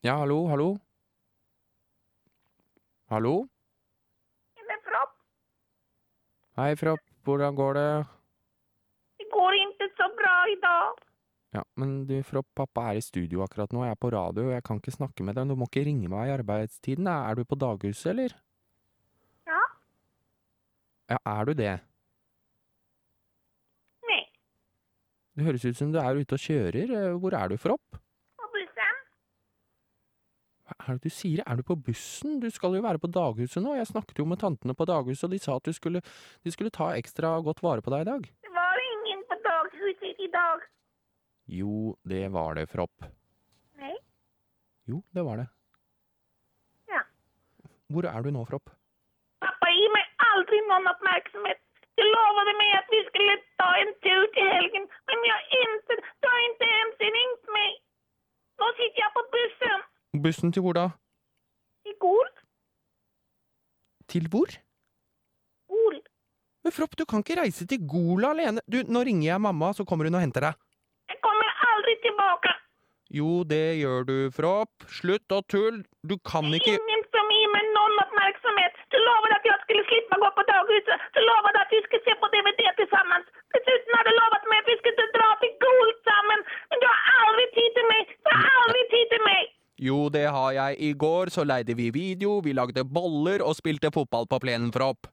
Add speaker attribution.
Speaker 1: Ja, hallo, hallo? Hallo?
Speaker 2: Det er Fropp.
Speaker 1: Hei, Fropp, hvordan går det?
Speaker 2: Det går ikke så bra i dag.
Speaker 1: Ja, men du, Fropp, pappa er i studio akkurat nå, jeg er på radio, og jeg kan ikke snakke med deg, du må ikke ringe meg i arbeidstiden, da. er du på daghuset, eller?
Speaker 2: Ja.
Speaker 1: Ja, er du det?
Speaker 2: Nei.
Speaker 1: Det høres ut som du er ute og kjører, Eh, hvor er du, Fropp?
Speaker 2: På bussen.
Speaker 1: Hva er det du sier, er du på bussen? Du skal jo være på daghuset nå, jeg snakket jo med tantene på daghuset, og de sa at du skulle, de skulle ta ekstra godt vare på deg i dag.
Speaker 2: Det var ingen på daghuset i dag.
Speaker 1: Jo, det var det, Fropp.
Speaker 2: Nei.
Speaker 1: Jo, det var det.
Speaker 2: Ja.
Speaker 1: Hvor er du nå, Fropp?
Speaker 2: Pappa gir meg aldri noen oppmerksomhet. Du lovade meg at vi skulle ta en tur til helgen, men jeg har ikke, du har ikke ens ringt meg. Nå sitter jeg på bussen.
Speaker 1: Bussen til hvor da?
Speaker 2: I går?
Speaker 1: Til hvor?
Speaker 2: Gol.
Speaker 1: Men Fropp, du kan ikke reise til Gola alene. Du, nå ringer jeg mamma, så kommer hun og henter deg.
Speaker 2: Jeg kommer aldri tilbake.
Speaker 1: Jo, det gjør du, Fropp. Slutt å tull. Du kan ikke
Speaker 2: Ingen som gir meg noen oppmerksomhet. Du lovade at jeg skulle slippe å gå på daghuset. Du lovade at vi skulle se på DVD sammen. Dessuten har du lovet meg at vi skulle dra til Gol sammen. Men du har aldri tid til meg. Du har aldri tid til meg.
Speaker 1: Jo, det har jeg. I går så leide vi video, vi lagde boller og spilte fotball på plenen, Fropp.